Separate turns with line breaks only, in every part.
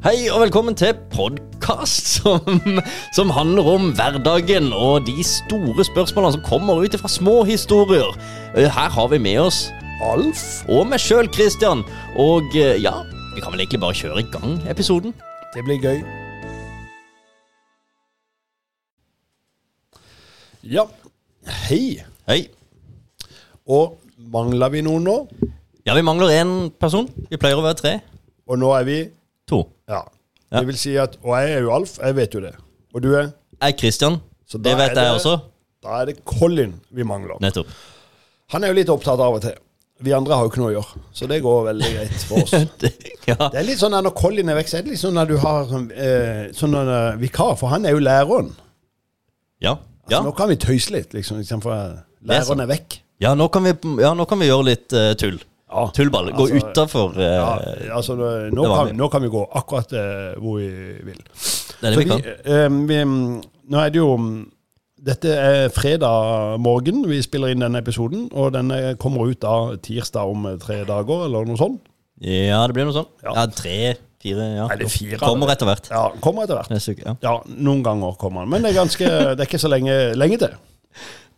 Hei og velkommen til podkast som, som handler om hverdagen og de store spørsmålene som kommer ut fra små historier. Eh, Her har vi med oss Alf og meg sjøl, Christian. Og eh, ja, vi kan vel egentlig bare kjøre i gang episoden.
Det blir gøy. Ja, hei.
Hei.
Og mangler vi noen nå?
Ja, vi mangler én person. Vi pleier å være tre.
Og nå er vi
To.
ja.
Ja.
Det vil si at Og jeg er jo Alf, jeg vet jo det. Og du er
Jeg er Christian.
Så da
Det
er
vet
det-
jeg også.
Da er det Colin vi mangler.
Nettopp.
Han er jo litt opptatt av og til. Vi andre har jo ikke noe å gjøre, så det går veldig greit for oss.
ja.
Det er litt sånn at Når Colin er vekk, så er det litt sånn at du har sånn, eh, sånn eh, vikar, for han er jo læreren.
Ja.
Så
Ja.
nå kan vi tøyse litt, liksom, istedenfor at
Det er sant.
læreren er vekk.
Ja, nå kan vi, ja, nå kan vi gjøre litt eh, tull.
Ja.
Tullball. Gå
Altså,
utafor eh,
Ja, altså, nå- nå,
det var
kan,
mye.
nå kan vi gå akkurat eh, hvor vi vil.
det er
Så
det vi kan.
eh, vi, mm, nå er det jo mm, Dette er fredag morgen vi spiller inn denne episoden, og denne kommer ut da tirsdag om eh, tre dager, eller noe sånt.
Ja, det blir noe sånn.
Ja.
Ja, tre, fire ja.
Er det fire?
Kommer etter hvert.
Ja, Kommer etter hvert.
Neste uke, ja.
Ja, noen ganger kommer den, men det er, ganske, det er ikke så lenge, lenge til.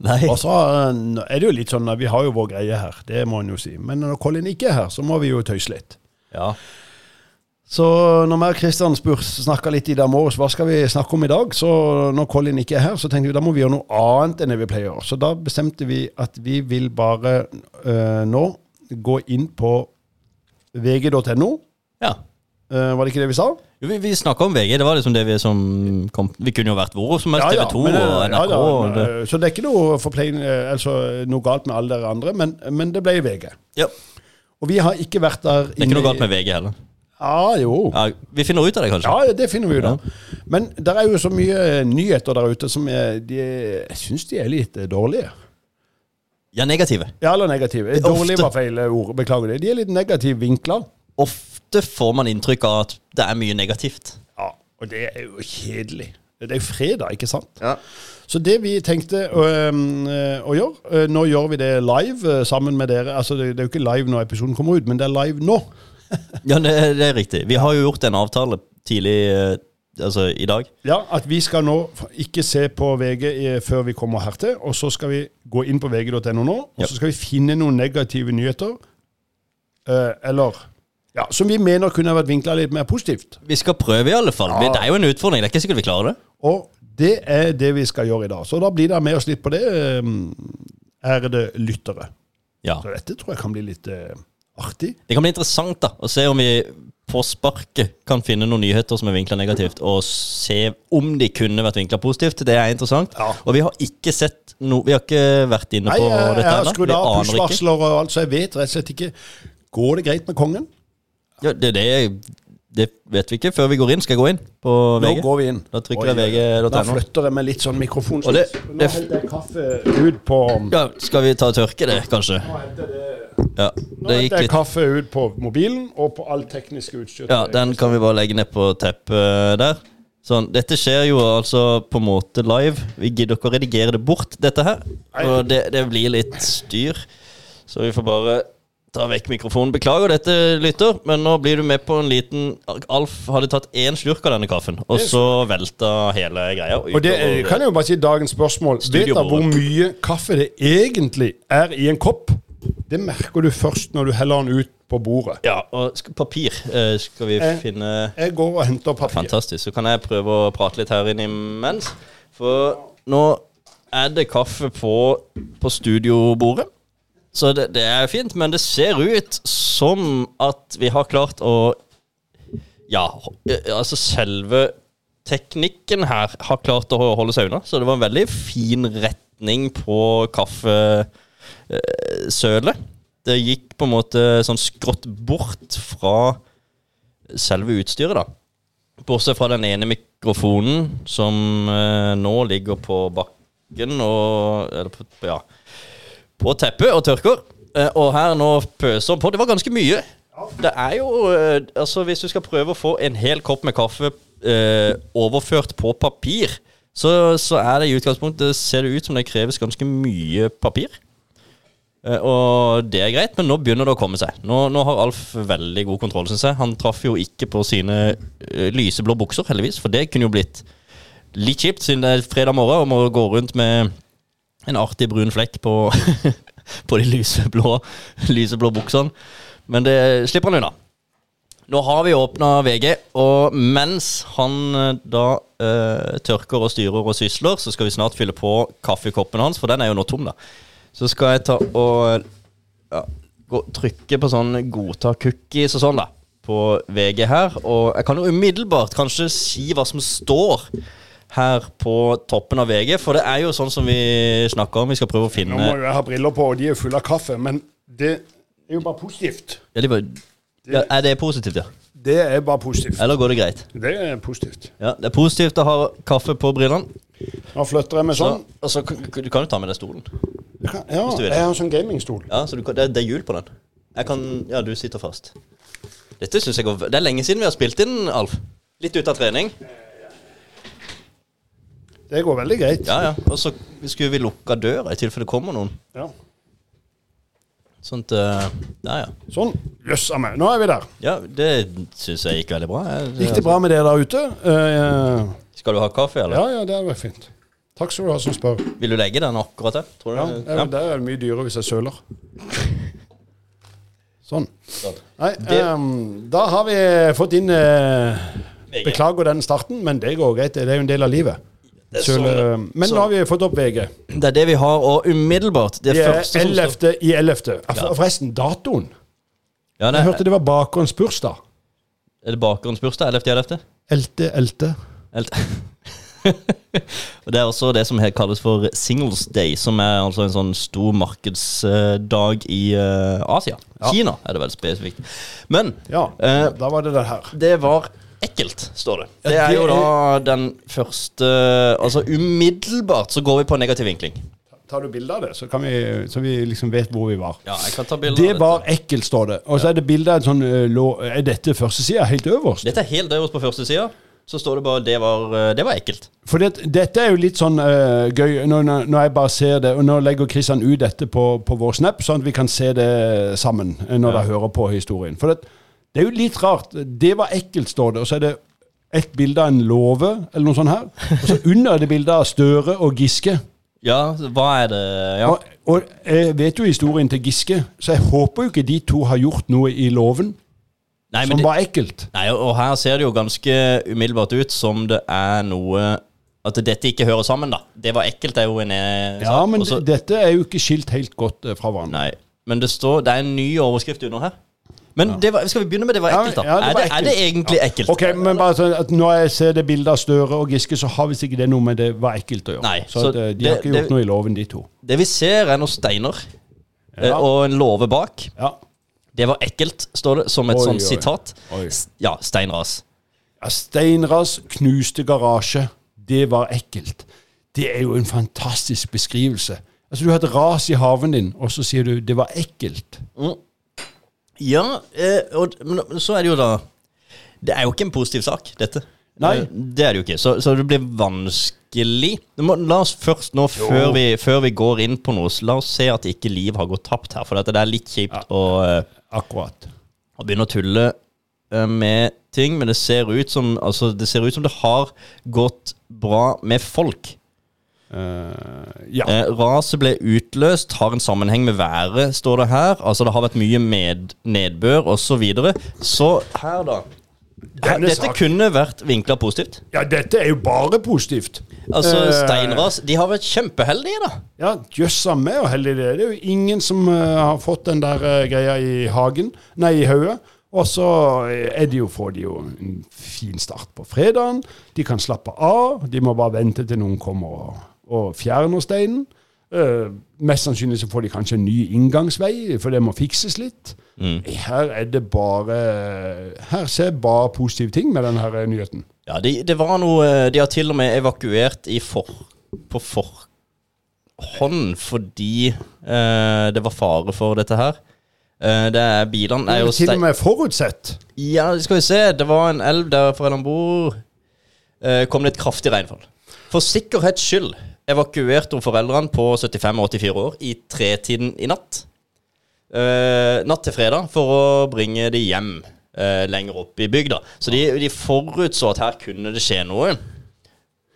Nei.
Og så eh, er det jo litt sånn at vi har jo vår greie her, det må en jo si. Men når Colin ikke er her, så må vi jo tøyse litt.
Ja.
Så når vi og Kristian snakka litt i dag morges hva skal vi snakke om i dag, så når Colin ikke er her, så tenkte vi da må vi gjøre noe annet enn det vi pleier. å gjøre. Så da bestemte vi at vi vil bare øh, nå gå inn på vg.no.
ja.
Eh, var det ikke det vi sa?
Jo, vi vi snakka om VG. Det var liksom det vi som kom Vi kunne jo vært hvor som helst. TV 2
men, eh,
og
ja,
NRK.
ja,
og det.
eh, så det er ikke noe, forplein, eh, altså, noe galt med alle dere andre, men, men det ble i VG.
Ja.
Og vi har ikke vært der
Det er ikke noe galt med VG heller.
Ja, jo.
Ja, vi finner ut av det, kanskje.
Ja, det finner vi ut av. Men det er jo så mye eh, nyheter der ute som er, de, jeg syns de er litt eh, dårlige.
Ja, negative.
Ja, eller negative.
er ofte-
Dårlig var feil eh, ord, beklager det. De er litt negative vinkler.
Ofte får man inntrykk av at det er mye negativt.
Ja, og det er jo kjedelig. Det er jo fredag, ikke sant? Så det vi tenkte øhm, øh, å gjøre øh, Nå gjør vi det live øh, sammen med dere. Altså, det, det er jo ikke live når episoden kommer ut, men det er live nå.
Ja, det, det er riktig. Vi har jo gjort en avtale tidlig eh, Altså i dag.
Ja, At vi skal nå f- ikke se på VG i- før vi kommer her til, og så skal vi gå inn på vg.no nå, og
Ja.
så skal vi finne noen negative nyheter. øh, eller ja, Som vi mener kunne vært vinkla litt mer positivt.
Vi skal prøve, i alle fall.
Ja.
Det er jo en utfordring. Det er ikke sikkert vi klarer det.
Og det er det vi skal gjøre i dag. Så da blir dere med oss litt på det, eh, ærede lyttere.
Ja.
Så dette tror jeg kan bli litt eh, artig.
Det kan bli interessant da, å se om vi på sparket kan finne noen nyheter som er vinkla negativt, og se om de kunne vært vinkla positivt. Det er interessant.
Ja.
Og vi har ikke sett noe Vi har ikke vært inne
Nei,
på
jeg, jeg
dette
har
ennå. Vi
skrudd av
aner ikke.
push-varsler og alt, så jeg vet rett og slett ikke Går det greit med kongen?
Ja, det, det, det vet vi ikke før vi går inn. Skal jeg gå inn på
Nå
VG?
går vi inn.
Da trykker
Oi,
jeg VG.no.
Da flytter jeg med litt sånn mikrofon.
Og det-
Nå
det-
henter jeg kaffe ut på
Ja, skal vi ta og tørke det, kanskje?
Nå henter det-
Ja,
nå
det gikk
henter jeg
litt
kaffe ut på mobilen og på alt teknisk utstyr.
Ja, den kan vi bare legge ned på teppet eh, der. Sånn, Dette skjer jo altså på en måte live. Vi gidder ikke å redigere det bort, dette her. Og det, det blir litt styr. Så vi får bare ta vekk mikrofonen. Beklager dette, lytter, men nå blir du med på en liten Alf hadde tatt én slurk av denne kaffen, og så velta hele greia.
Og det eh, kan jeg jo bare si dagens spørsmål. Vet dere hvor mye kaffe det egentlig er i en kopp? Det merker du først når du heller den ut på bordet.
Ja, og sk- papir eh, skal vi
Eh.
finne
Jeg går og henter papir.
Fantastisk. Så kan jeg prøve å prate litt her inne imens. For nå er det kaffe på, på studiobordet. Så det, det er fint, men det ser ut som at vi har klart å Ja, eh, altså selve teknikken her har klart å holde seg unna. Så det var en veldig fin retning på kaffesølet. Det gikk på en måte sånn skrått bort fra selve utstyret, da. Bortsett fra den ene mikrofonen som eh, nå ligger på bakken og Eller på, ja, på teppet og tørker. Eh, og her nå pøser han på. Det var ganske mye. Det er jo eh, Altså, hvis du skal prøve å få en hel kopp med kaffe eh, overført på papir, så, så er det i utgangspunktet Ser det ut som det kreves ganske mye papir. Eh, Og det er greit, men nå begynner det å komme seg. Nå, nå har Alf veldig god kontroll, syns jeg. Han traff jo ikke på sine eh, lyseblå bukser, heldigvis, for det kunne jo blitt litt kjipt siden det er fredag morgen og må gå rundt med en artig brun flekk på, på de lyseblå, lyseblå buksene. Men det slipper han unna. Nå har vi åpna VG, og mens han eh, da eh, tørker og styrer og sysler, så skal vi snart fylle på kaffekoppen hans, for den er jo nå tom, da. Så skal jeg ta og ja, gå, trykke på sånn 'godta cookies' og sånn, da. På VG her. Og jeg kan jo umiddelbart kanskje si hva som står her på toppen av VG, for det er jo sånn som vi snakker om. Vi skal prøve å
Nå må
finne
jo jeg ha briller på, og de er fulle av kaffe, men det er jo bare positivt.
ja, de bare, ja, Er det positivt, ja?
Det er bare positivt.
Eller går det greit?
Det er positivt.
Ja, Det er positivt å ha kaffe på brillene.
Nå flytter jeg meg
Så,
sånn.
og så kan- du kan jo ta med deg stolen.
Jeg kan- Ja,
du vil.
jeg har en sånn gamingstol.
Ja, så du kan, det, er- det er hjul på den. Jeg kan Ja, du sitter fast. Dette synes jeg går v- Det er lenge siden vi har spilt inn, Alf. Litt ute av trening.
Det går veldig greit.
Ja, ja. Og så skulle vi lukka døra i tilfelle det kommer noen.
Ja.
Sånt eh, Ja, ja.
Sånn. Jøss a meg. Nå er vi der.
Ja, Det syns jeg gikk veldig bra. Jeg,
Gikk det bra med dere der ute? Eh,
Skal du ha kaffe, eller?
Ja, ja, det var fint. Takk skal du ha som spør.
Vil du legge den akkurat der? Tror du?
Ja,
det-
det er- det er mye dyrere hvis jeg søler. Sånn. Nei,
Det-
ehm, da har vi fått inn eh,
VG.
Beklager den starten, men det går greit. Det er jo en del av livet.
Det er
Søle-
sånn-
men nå har vi fått opp VG.
Det er det vi har, og umiddelbart Det
Vi er
første som står
11. i 11. Ja, for- Forresten, datoen.
Ja, det
Jeg
er,
hørte det var bakerens bursdag.
er det bakgrunnsbursdag? 11. 11.?
Elte, elte.
Helt. Og Det er også det som he- kalles for Singles Day, som er altså en sånn stor markedsdag i eh, Asia. Kina er det vel spesifikt. Men
Ja,
eh,
da var det den her.
det var ekkelt, står det.
Ja,
Det er
det
jo
er-
da den første Altså umiddelbart så går vi på negativ vinkling.
Tar du bilde av det, så, kan vi, så vi liksom vet hvor vi var.
Ja, jeg kan ta bilder
Det var ekkelt, står det. Og så er det bilde av en sånn eh, lå- Er dette førstesida helt øverst?
Dette er helt øverst på første sida. Så står det bare det var, eh, det var ekkelt.
For det, dette er jo litt sånn eh, gøy når, når- når jeg bare ser det, og nå legger Kristian ut dette på, på vår snap, sånn at vi kan se det sammen eh, når dere hører på historien. For det, det er jo litt rart. Det var ekkelt, står det. Og så er det et bilde av en låve, eller noe sånt her. Og så under er det bilde av Støre og Giske.
Ja, hva er det Ja.
Og, og jeg vet jo historien til Giske, så jeg håper jo ikke de to har gjort noe i låven
Nei, men
som
det-
var ekkelt.
Nei, og og her ser det jo ganske umiddelbart ut som det er noe At dette ikke hører sammen, da. Det var ekkelt, er jo en eh,
Ja,
sak,
men
og så-
dette er jo ikke skilt helt godt eh, fra hverandre.
Nei, men det står Det er en ny overskrift under her. Men det var, skal vi begynne med det var
Ja,
ekkelt, da?
ja, det var
er, det, er det egentlig ekkelt?
Ok, men bare sånn at Når jeg ser det bildet av Støre og Giske, så har visst ikke det noe med det var ekkelt å gjøre.
Nei,
så
så
at, eh, de
det-
har ikke gjort
det-
noe i loven, de to.
Det vi ser, er noen steiner eh,
Ja.
og en låve bak.
Ja.
Det var ekkelt, står det, som et
Oi,
sånt
oi.
sitat.
Oi.
S- Ja, steinras.
Ja, Steinras knuste garasje. Det var ekkelt. Det er jo en fantastisk beskrivelse. Altså, Du har et ras i haven din, og så sier du 'det var ekkelt'.
Ja, eh, og men så er det jo da Det er jo ikke en positiv sak, dette. Eh,
Nei.
Det er det jo ikke, så, så det blir vanskelig. Du Må, la oss først nå, før vi, før vi går inn på noe, så la oss se at ikke liv har gått tapt her. For dette, det er litt kjipt å, eh,
Akkurat.
å begynne å tulle eh, med ting, men det ser, ut som, altså, det ser ut som det har gått bra med folk.
Eh, ja.
Eh, raset ble utløst, har en sammenheng med været, står det her. Altså det har vært mye med nedbør osv. Så, videre. så her, da. Her,
Denne
dette
sak-
kunne vært vinkla positivt.
ja, dette er jo bare positivt.
Altså
Eh,
Steinras De har vært kjempeheldige, da.
Ja, jøssa meg og heldig det. er. Det er jo ingen som eh, har fått den der eh, greia i hagen, nei, i hodet. Og så eh, er de jo, får de jo en fin start på fredagen. De kan slappe av. De må bare vente til noen kommer og, og fjerner steinen. Eh, mest sannsynlig så får de kanskje en ny inngangsvei, for det må fikses litt. Her er det bare Her ser jeg bare positive ting med denne her eh, nyheten.
Ja, de, det var noe eh, De har til og med evakuert i for, på forhånd fordi eh, det var fare for dette her. Eh, det er bilene
Det
er
er
jo
til
stein-
og med forutsett.
Ja, skal vi se. Det var en elv der foreldrene bor. Eh, kom det et kraftig regnfall. For sikkerhets skyld evakuerte hun foreldrene på 75 og 84 år i tretiden i natt. eh, natt til fredag for å bringe de hjem eh, lenger opp i bygda. Så de, de forutså at her kunne det skje noe.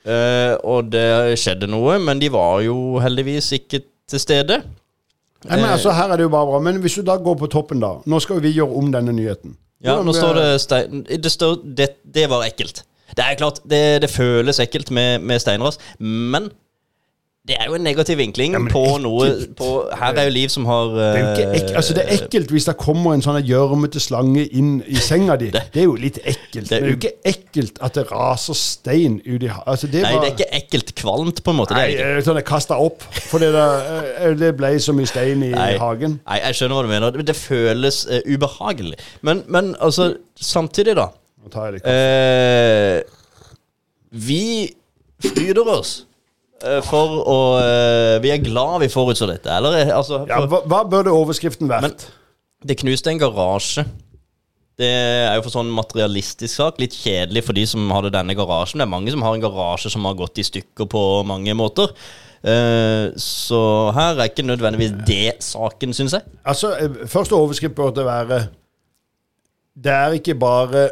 Eh, og det skjedde noe, men de var jo heldigvis ikke til stede.
Nei,
Eh,
men altså, her er det jo bare bra. Men hvis du da går på toppen, da. Nå skal jo vi gjøre om denne nyheten.
Ja,
Hvordan,
nå står det
eh,
stein... Det, står, det, det var ekkelt. Det er klart, det, det føles ekkelt med, med steinras, men det er jo en negativ vinkling
men
på
ekkelt.
noe på, Her er jo Liv som har eh,
det er jo ikke ek altså, det er ekkelt hvis det kommer en sånn her gjørmete slange inn i senga di. Det, er jo litt ekkelt.
det er
men det er
u-
jo ikke ekkelt at det raser stein ut i ha- altså, det
Nei,
var-
det er ikke ekkelt kvalmt, på en måte.
Nei,
det er det ikke.
eh, sånn jeg kasta opp. Fordi det, eh, det ble så mye stein i
Nei.
hagen.
Nei, jeg skjønner hva du mener. Det- Det føles eh, ubehagelig. Men, men altså, samtidig, da.
Nå tar jeg litt.
Eh, vi fryder oss eh, for å eh, Vi er glad vi forutså dette. Eller eh, altså
Ja,
for-
hva, hva burde overskriften vært?
Det knuste en garasje. Det er jo for sånn materialistisk sak litt kjedelig for de som hadde denne garasjen. Det er mange som har en garasje som har gått i stykker på mange måter. Eh, så her er ikke nødvendigvis det saken, syns jeg.
Altså, eh, Første overskrift burde være Det er ikke bare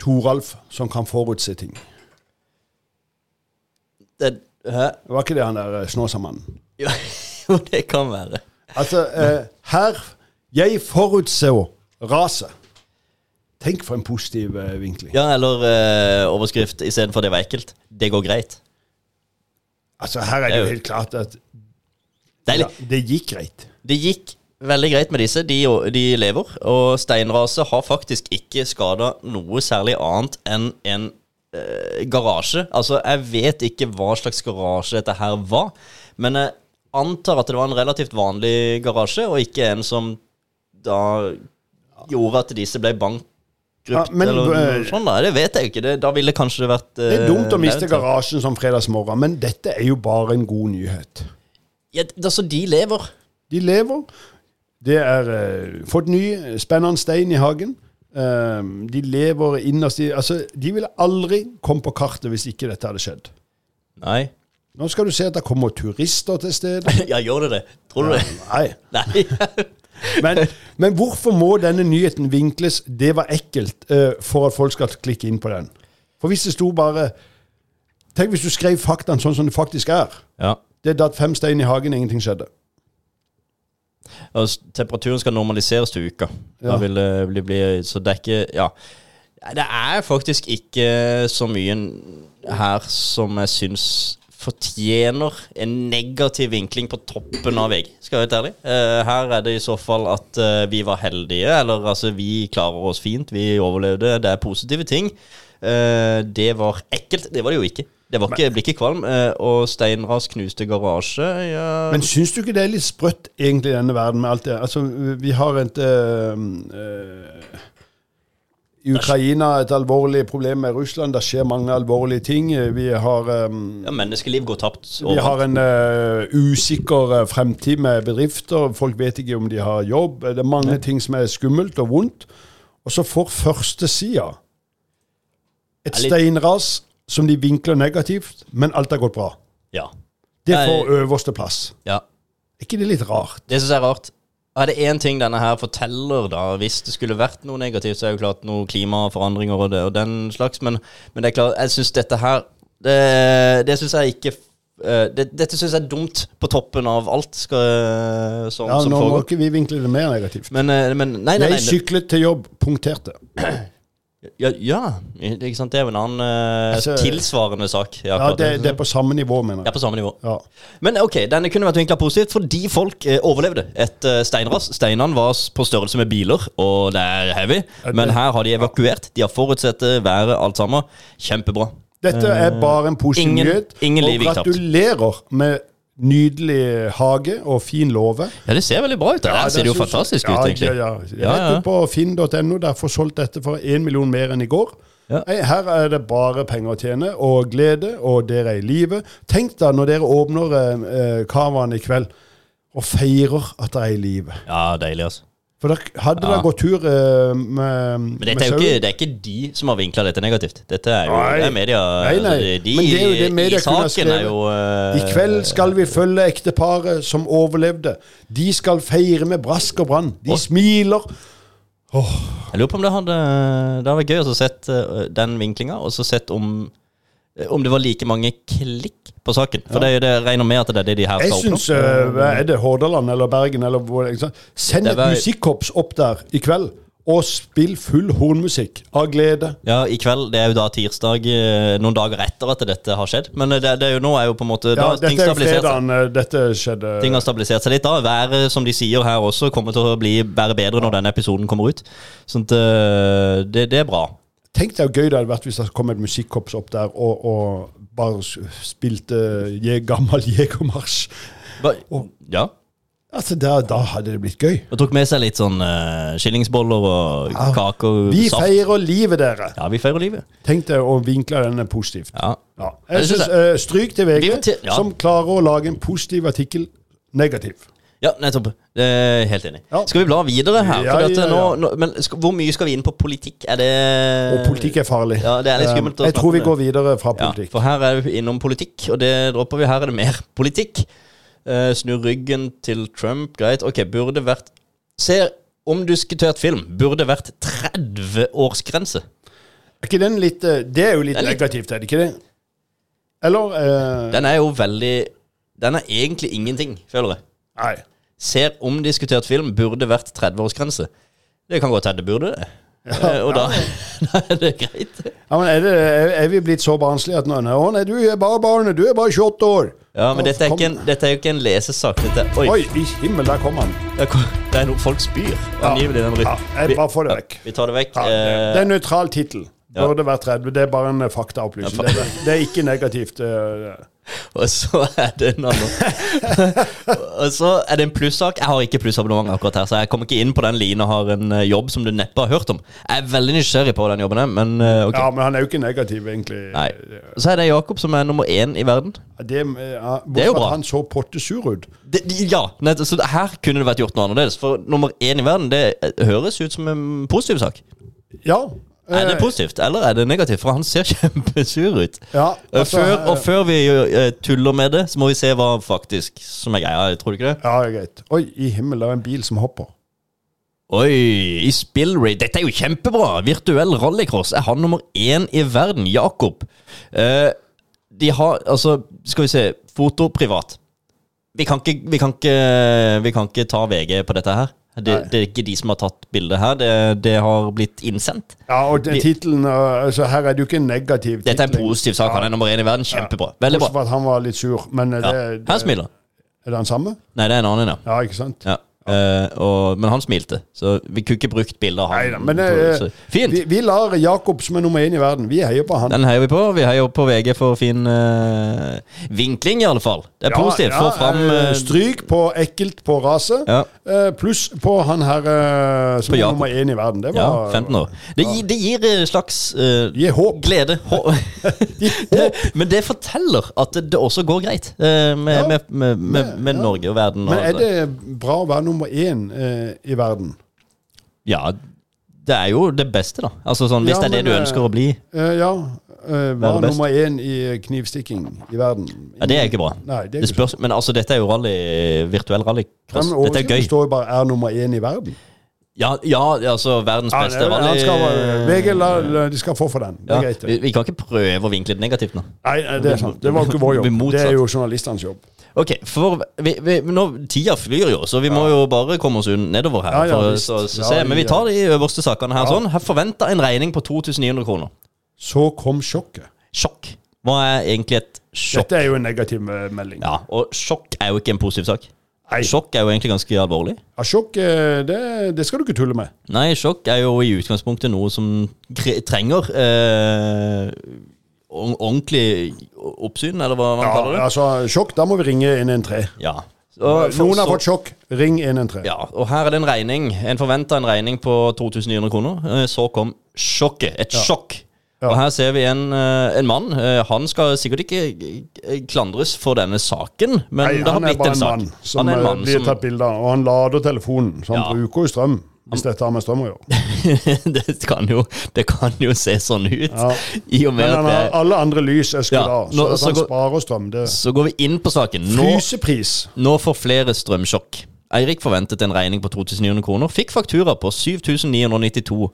Toralf som kan forutse ting.
Det, hæ?
Det var ikke det han der eh, Snåsamannen.
Jo, jo, det kan være.
Altså, eh, her Jeg forutser raset. Tenk for en positiv eh, vinkling.
Ja, eller eh, overskrift istedenfor 'det var ekkelt'. Det går greit.
Altså, her
Det
er det
er
jo
jo-
helt klart at
Det, er
ja,
litt,
det gikk greit.
det gikk veldig greit med disse. De, de lever. Og steinraset har faktisk ikke skada noe særlig annet enn en eh, garasje. Altså, jeg vet ikke hva slags garasje dette her var, men jeg antar at det var en relativt vanlig garasje, og ikke en som da gjorde at disse ble bankrupt
Ja, men,
eller noe
eh,
sånt. Da. Det vet jeg jo ikke. Det, da ville kanskje det sånn. vært eh,
Det er dumt å miste
garasje
garasjen som fredagsmorgen, men dette er jo bare en god nyhet.
Ja, altså, de lever.
De lever. Det er eh, fått ny, spennende stein i hagen. Eh, de lever innerst i Altså, de ville aldri kommet på kartet hvis ikke dette hadde skjedd.
Nei.
Nå skal du se at det kommer turister til stedet.
ja, gjør det det? Tror du det?
Nei.
Nei.
Men, men hvorfor må denne nyheten vinkles 'det var ekkelt' eh, for at folk skal klikke inn på den? For hvis det sto bare Tenk hvis du skrev faktaen sånn som det faktisk er.
ja.
Det datt fem stein i hagen, ingenting skjedde.
Altså, temperaturen skal normaliseres til uka.
Ja.
Da vil det bli, bli Så det er ikke Ja. Det er faktisk ikke så mye n- her som jeg syns fortjener en negativ vinkling på toppen av VG, skal jeg være helt ærlig. Eh, her er det i så fall at eh, vi var heldige, eller altså vi klarer oss fint, vi overlevde, det er positive ting. Eh, det var ekkelt. Det var det jo ikke. Det var ikke, ble ikke kvalm. eh, og steinras knuste garasje. Ja.
Men syns du ikke det er litt sprøtt, egentlig, i denne verden med alt det Altså, vi har et eh, eh, I Ukraina et alvorlig problem med Russland. Det skjer mange alvorlige ting. Vi har eh,
ja, menneskeliv går tapt.
Vi har en eh, usikker eh, fremtid med bedrifter. Folk vet ikke om de har jobb. Det er mange ting som er skummelt og vondt. Og så får førstesida
Det
et
er litt-
steinras som de vinkler negativt, men alt har gått bra.
Ja.
Det
Nei.
får øverste plass.
ja.
Er ikke det litt rart?
Det syns jeg er rart. Er det én ting denne her forteller, da, hvis det skulle vært noe negativt, så er jo klart noe klimaforandringer og, det, og den slags, men, men det er klart, jeg syns dette her Det, det syns jeg ikke eh, det, Dette syns jeg er dumt på toppen av alt skal, eh, som,
Ja,
som
Nå må
foregår.
ikke vi vinkle det mer negativt.
Men, eh, men Nei, nei,
Jeg
nei.
syklet til jobb, punkterte.
Ja, ja, ikke sant. Det er jo en annen eh,
Altså-
tilsvarende sak. Ja,
Ja,
klart
det, det er på samme nivå, mener
det er
jeg.
på samme nivå.
Ja.
Men ok, denne kunne vært vinkla positivt fordi folk eh, overlevde et eh, steinras. Steinene var s- på størrelse med biler, og det er heavy. Men her har de evakuert. De har forutsett eh, været, alt sammen. Kjempebra.
Dette er bare en positiv
Eh, ingen-
nyhet.
ingen liv
Og
gikk tapt.
gratulerer med nydelig hage og fin låve.
Ja, det ser veldig bra ut. Det her ser det jo
synes-
fantastisk
ja,
ut, egentlig.
Ja, ja.
Ja,
Rett
ja.
opp på finn.no, der får solgt dette for én million mer enn i går.
Ja.
Nei, Her er det bare penger å tjene, og glede, og dere er i live. Tenk da, når dere åpner eh, eh, Cavaen i kveld, og feirer at dere er i live.
Ja, deilig, altså.
For der hadde
Ja.
det gått tur eh, med,
Men dette er jo ikke, det er ikke de som har vinkla dette negativt. Dette er jo
Nei.
det er media.
Nei, nei.
altså, De,
Men det er jo det media
i
kunne ha
saken er
skrevet.
jo eh,
I kveld skal vi følge ekteparet som overlevde. De skal feire med brask og brann. De
Og-
smiler.
Jeg lurer på om det hadde Det hadde vært gøy å sett eh, den vinklinga, og så sett om eh, om det var like mange klikk på saken. For det, er jo det jeg regner med at det er det de her
Jeg
skal oppnå.
syns Er det Hordaland eller Bergen eller hvor ikke sant? Send
Det
et
var-
musikkorps opp der i kveld, og spill full hornmusikk av glede.
Ja, i kveld. Det er jo da tirsdag, eh, noen dager etter at dette har skjedd. Men eh, det, det er jo nå er jo på en måte
Ja,
da, har
dette
ting
er jo
stabilisert seg.
fredagen eh, dette skjedde.
Ting har stabilisert seg litt da. Været, som de sier her også, kommer til å bli være bedre når denne episoden kommer ut. Sånn at eh, det, det er bra.
Tenk deg hvor gøy det hadde vært hvis det kom et musikkorps opp der og, og bare s- spilte je, gammel jegermarsj.
Ba, ja.
Altså, der, da hadde det blitt gøy.
Og tok med seg litt sånn eh, skillingsboller og
Ja.
kaker og
Vi
saft.
feirer livet, dere.
Ja, vi feirer livet.
Tenk deg å vinkle denne positivt.
Ja.
Ja.
Det
Jeg
synes
synes, eh, Stryk til VG,
Vi må til- ja.
som klarer å lage en positiv artikkel negativ.
ja, nettopp. Eh, helt enig.
Ja.
Skal vi bla videre her?
Ja,
Fordi at
ja,
Nå,
ja.
nå, men sk hvor mye skal vi inn på politikk? Er det
Og politikk er farlig.
Eh, Ja, det er litt skummelt å
Eh, Jeg
snakke
tror vi
om det.
går videre fra
Ja,
politikk.
for her er vi innom politikk, og det dropper vi. Her er det mer politikk. Eh, snu ryggen til Trump, greit. Ok, burde vært Se, omdiskutert film burde vært 30-årsgrense.
Er ikke den litt eh, Det er jo litt
Det er litt-
negativt, er det ikke det? Eller eh,
Den er jo veldig Den er egentlig ingenting, føler jeg.
Nei.
Ser omdiskutert film burde vært 30-årsgrense. Det kan godt hende det burde det. Eh, og da, da er det greit.
Ja, men er, det, er, er vi blitt så barnslige at nå Å nei, du er bare barnet, du er bare 28 år.
Ja, men
Å,
dette er,
kom-
ikke en, dette er jo ikke en lesesak. Dette er, oi,
Oi, i himmel, der kom han.
der kom- det er noe folk spyr. Angivelig. den
Ja,
rytmen.
jeg bare får det vekk.
Vi tar det vekk.
Ja, det
eh,
det er en nøytral tittel. Burde vært 30. Det er bare en eh, faktaopplysning. Det, er- det er ikke negativt. eh,
Og så er det en annen Og så er det en plussak. Jeg har ikke plussabonnement akkurat her, så jeg kommer ikke inn på den Line har en eh, jobb som du neppe har hørt om. Jeg er veldig nysgjerrig på den jobben, jeg, men eh, ok.
Ja, men han er jo ikke negativ, egentlig.
Nei. Så er det Jakob som er nummer én i verden.
Det, eh, ja,
Det er jo
Bortsett fra
bra.
at han så pottesur ut.
Det, de- ja, nett, så her kunne det vært gjort noe annerledes. For nummer én i verden, det eh, høres ut som en positiv sak.
Ja.
Er det
eh,
positivt, eller er det negativt? For han ser kjempesur ut.
Ja,
Eh,
altså,
før, og
eh,
før vi eh, tuller med det, så må vi se hva faktisk som er greia. Tror du ikke det?
ja, greit. Oi, i himmel, det er en bil som hopper.
Oi, i Spillray. Dette er jo kjempebra! Virtuell rallycross er han nummer én i verden. Jakob. Eh, de har Altså, skal vi se. Foto privat. Vi kan ikke, vi kan ikke, vi kan ikke ta VG på dette her. Det,
Nei.
det er ikke de som har tatt bildet her. Det, det har blitt innsendt.
Ja, og den
Vi-
tittelen eh, altså, Her er det jo ikke en negativ
Dette er en
titling.
positiv sak. Han er nummer én i verden. Kjempebra. Veldig
Bortsett
bra.
fra at han var litt sur. Men eh,
Ja.
det, det,
Han smiler.
er det han samme?
Nei, det er en annen, ja.
Ja, ikke sant?
ja. Eh, og, men han smilte, så vi kunne ikke brukt bilde av
Neida,
han.
men eh,
på- så- Fint!
Vi, vi lar Jakob, som er nummer én i verden, vi heier på han.
Den heier vi på. Vi heier opp på VG for fin eh, vinkling, i alle fall. Det er positivt. Få fram
eh,
eh,
Stryk på ekkelt på raset.
ja,
eh, Pluss på han her eh, som
På
er
Jakob.
nummer én i verden. Det
ja,
var
15 år. Det, gi- det gir eh, slags eh,
Gi håp.
glede. Hå- Men det forteller at det også går greit eh, med,
Ja.
med, med, med, med
ja.
Norge og verden. Og,
Men er det bra å være nummer én eh, i verden?
Ja, det er jo det beste, da. Altså sånn, Hvis det
Ja,
er det
men,
du
eh,
ønsker å bli.
Eh, ja. eh,
Være
være
best.
nummer én i eh, knivstikking i verden.
Ja, Det er ikke bra.
Nei, det er
Det
ikke
spørs, men altså, dette er jo rally, virtuell
Ja,
rallycross.
men
Dette er
overskriften
gøy.
står jo bare 'er nummer én i verden'.
Ja, ja, altså verdens
Ja,
beste
han
rally...
skal, være- VG la- la- de skal få for den. Det
Ja,
er greit.
vi,
det.
vi kan ikke prøve å vinkle det negativt nå.
Nei, nei, det er sant. Det var ikke vår
Vi
jobb.
motsatt.
Det er jo journalistenes jobb.
Ok, for vi, vi, nå, Tida flyr jo, så vi må jo bare komme oss un- nedover her.
Ja, ja,
for, å-
visst.
så, så,
Ja,
se. Men vi
ja.
tar de øverste sakene her. sånn Her Forventa en regning på 2900 kroner.
Så kom sjokket.
Sjokk. Hva er egentlig et sjokk?
Dette er jo en negativ eh, melding.
Ja, Og sjokk er jo ikke en positiv sak.
Nei,
Sjokk er jo egentlig ganske alvorlig.
ja, sjokk eh, det, det skal du ikke tulle med.
Nei, sjokk er jo i utgangspunktet noe som gre- trenger eh, ord- ordentlig oppsyn, eller hva man
Ja,
kaller det.
altså, sjokk, da må vi ringe 113.
Ja. Og for-
Noen har
så-
fått sjokk, ring 113.
Ja, og her er det en regning. En forventa en regning på 2900 kroner. Eh, Så kom sjokket. Et sjokk. Og her ser vi en, eh, en mann. Eh, Han skal sikkert ikke eh, klandres for denne saken, men
Nei,
det har
han er
blitt
bare
en
en
sak.
mann som
han er en
eh,
mann
blir
som
tatt bilde av, og han lader telefonen, så han
Ja.
bruker jo strøm. Hvis dette har med strøm å gjøre.
det, kan jo, det kan jo se sånn ut.
Ja.
I og med
Men
at
han har
det,
alle andre lys er skrudd
Ja,
av,
nå-
så at
så
han
går-
sparer strøm. Det
Så går vi inn på saken. Nå,
Frysepris.
nå får flere strømsjokk. Eirik forventet en regning på 2900 kroner. Fikk faktura på 7992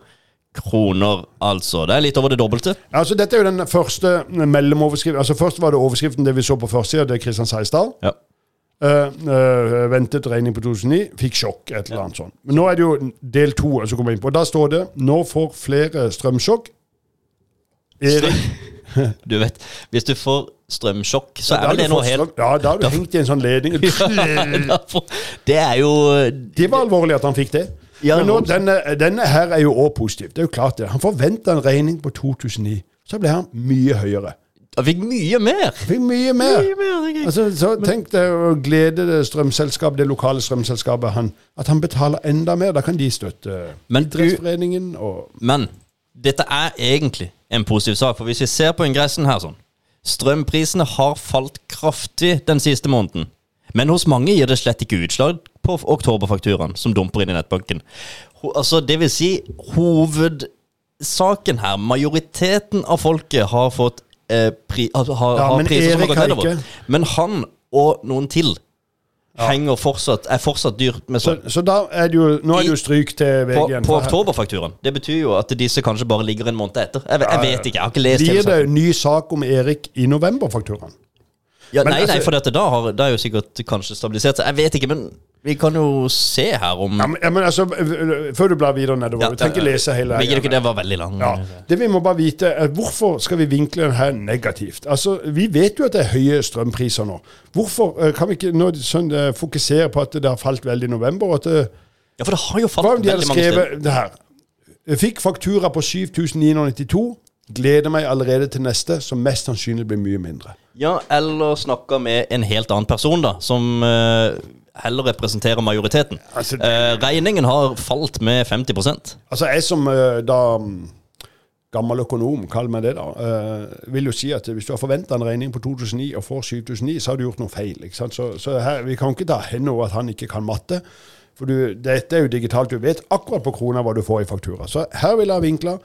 kroner, altså. Det er litt over det dobbelte.
Altså, dette er jo den første mellomoverskriften. Altså, først var det overskriften det vi så på førstesida, det er Kristian Seistad.
Ja.
Eh, eh, ventet regning på 2009, fikk sjokk, et eller annet sånt. Men nå er det jo del to som kommer inn på. og Da står det 'Nå får flere strømsjokk'. Erik,
Du vet, hvis du får strømsjokk, så
da
er
har
vel det
du
noe
fått
helt
strøm- Ja, da har du hengt i en sånn ledning.
Det er jo
Det var alvorlig at han fikk det.
Ja,
Men nå,
det
denne, denne her er jo òg positiv. Det er jo klart det. Han forventa en regning på 2009. Så ble han mye høyere.
Jeg fikk mye mer!
Fikk mye mer.
Mye mer, tenker jeg.
Altså, så tenk deg å glede det strømselskapet, det lokale strømselskapet, han, at han betaler enda mer. Da kan de støtte
Men du-
idrettsforeningen og
Men dette er egentlig en positiv sak, for hvis vi ser på ingressen her sånn Strømprisene har falt kraftig den siste måneden. Men hos mange gir det slett ikke utslag på f- oktoberfakturaen som dumper inn i nettbanken. Ho altså, det vil si, hovedsaken her Majoriteten av folket har fått eh, pri altså, har,
Ja,
har
men
priser som har
Erik
gått
har
nedover.
ikke.
Men han og noen til henger fortsatt, er fortsatt dyrt med
Så,
strøm.
så da er det jo, nå er det jo stryk til
På,
VG.
på oktoberfakturaen. Det betyr jo at disse kanskje bare ligger en måned etter. Jeg, ve- jeg vet ikke, jeg har ikke lest hele
Blir det
saken.
ny sak om Erik i novemberfakturaen?
Ja,
men
nei, nei,
altså-
for dette da har det er jo sikkert kanskje stabilisert seg. Jeg vet ikke, men vi kan jo se her om
Ja, men, ja, men altså, øh, øh, før du blar videre nedover,
Ja,
du trenger ikke
ja, ja.
lese hele
Ligger det
greia.
ikke det var veldig lang?
Ja, det vi må bare vite er, Hvorfor skal vi vinkle den her negativt? Altså, Vi vet jo at det er høye strømpriser nå. Hvorfor eh, kan vi ikke nå sånn, eh, fokusere på at det har falt veldig i november? og at det,
Ja, for det har jo
Hva
falt
om de hadde
veldig mange steder.
skrevet det her? Jeg fikk faktura på 7992. Gleder meg allerede til neste, som mest sannsynlig blir mye mindre.
Ja, eller snakka med en helt annen person, da, som eh, heller representerer majoriteten.
Altså, det-
Eh, regningen har falt med 50
Altså, jeg som eh, da mm, gammel økonom, kall meg det da, eh, vil jo si at hvis du har forventa en regning på 2009 og får 7009, så har du gjort noe feil. ikke sant? Så, så her, vi kan ikke ta henne over at han ikke kan matte. For du, dette er jo digitalt, du vet akkurat på krona hva du får i faktura. Så her vil jeg ha vinkla.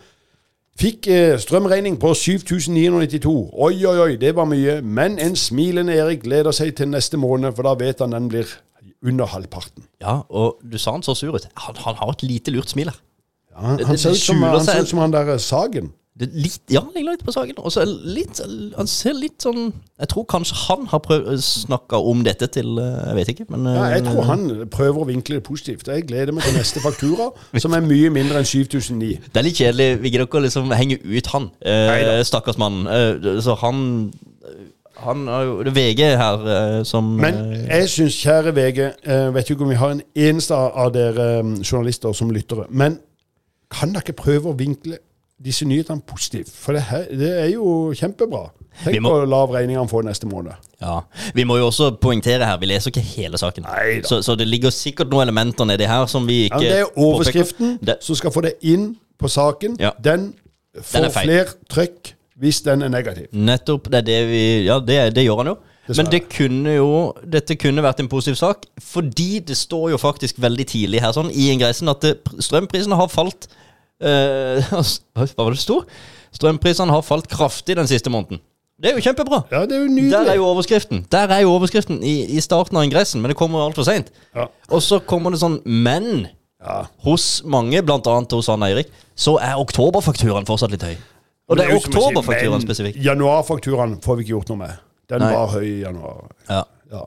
Fikk eh, strømregning på 7992. Oi, oi, oi, det var mye. Men en smilende Erik gleder seg til neste måned, for da vet han den blir under halvparten.
Ja, og du sa han så sur ut. Han, han har et lite lurt smil her.
Han,
Det-
han
det
ser ut som
skjuler
han,
seg
ser
en-
ut som han der eh, Sagen.
Det er litt, ja, jeg la litt på saken. Og så er det litt Han ser litt sånn Jeg tror kanskje han har prøvd snakka om dette til eh, Jeg vet ikke, men eh,
Ja, jeg tror han prøver å vinkle det positivt. Jeg gleder meg til neste faktura, som er mye mindre enn 7009.
Det er litt kjedelig. Vi gidder ikke å liksom henge ut han. Eh,
Neida.
stakkars mann. Eh, så han Han har jo Det er VG her eh, som
Men
eh,
jeg syns, kjære VG, eh, vet jo ikke om vi har en eneste av dere eh, journalister som lyttere, men kan dere ikke prøve å vinkle disse nyhetene positivt? For det, her, det er jo kjempebra.
Vi
Tenk
må-
på lav regning han får neste måned.
Ja. Vi må jo også poengtere her, vi leser ikke hele saken.
Neida.
Så, så det ligger sikkert noen elementer nedi her som vi
Ja,
ikke
men det er overskriften
påpeker. Det,
som skal få deg inn på saken.
Ja.
Den
Den
får
er feil.
flere trykk hvis den er negativ.
Nettopp. Det er det vi Ja, det, det gjør han jo. Men
Dessverre.
det kunne jo, dette kunne vært en positiv sak, fordi det står jo faktisk veldig tidlig her sånn i ingressen at det, strømprisene har falt eh, Hva var det det sto? Strømprisene har falt kraftig den siste måneden. Det er jo kjempebra.
Ja, det er jo nydelig.
Der er jo overskriften Der er jo overskriften i, i starten av ingressen, men det kommer altfor seint.
Ja.
Og så kommer det sånn Men
Ja.
hos mange, blant annet hos han Eirik, så er oktoberfakturaen fortsatt litt høy. Og det er
jo som jeg sier,
oktoberfakturaen
men
spesifikt.
Januarfakturaen får vi ikke gjort noe med. Den
Nei.
var høy i januar.
Ja.
Ja.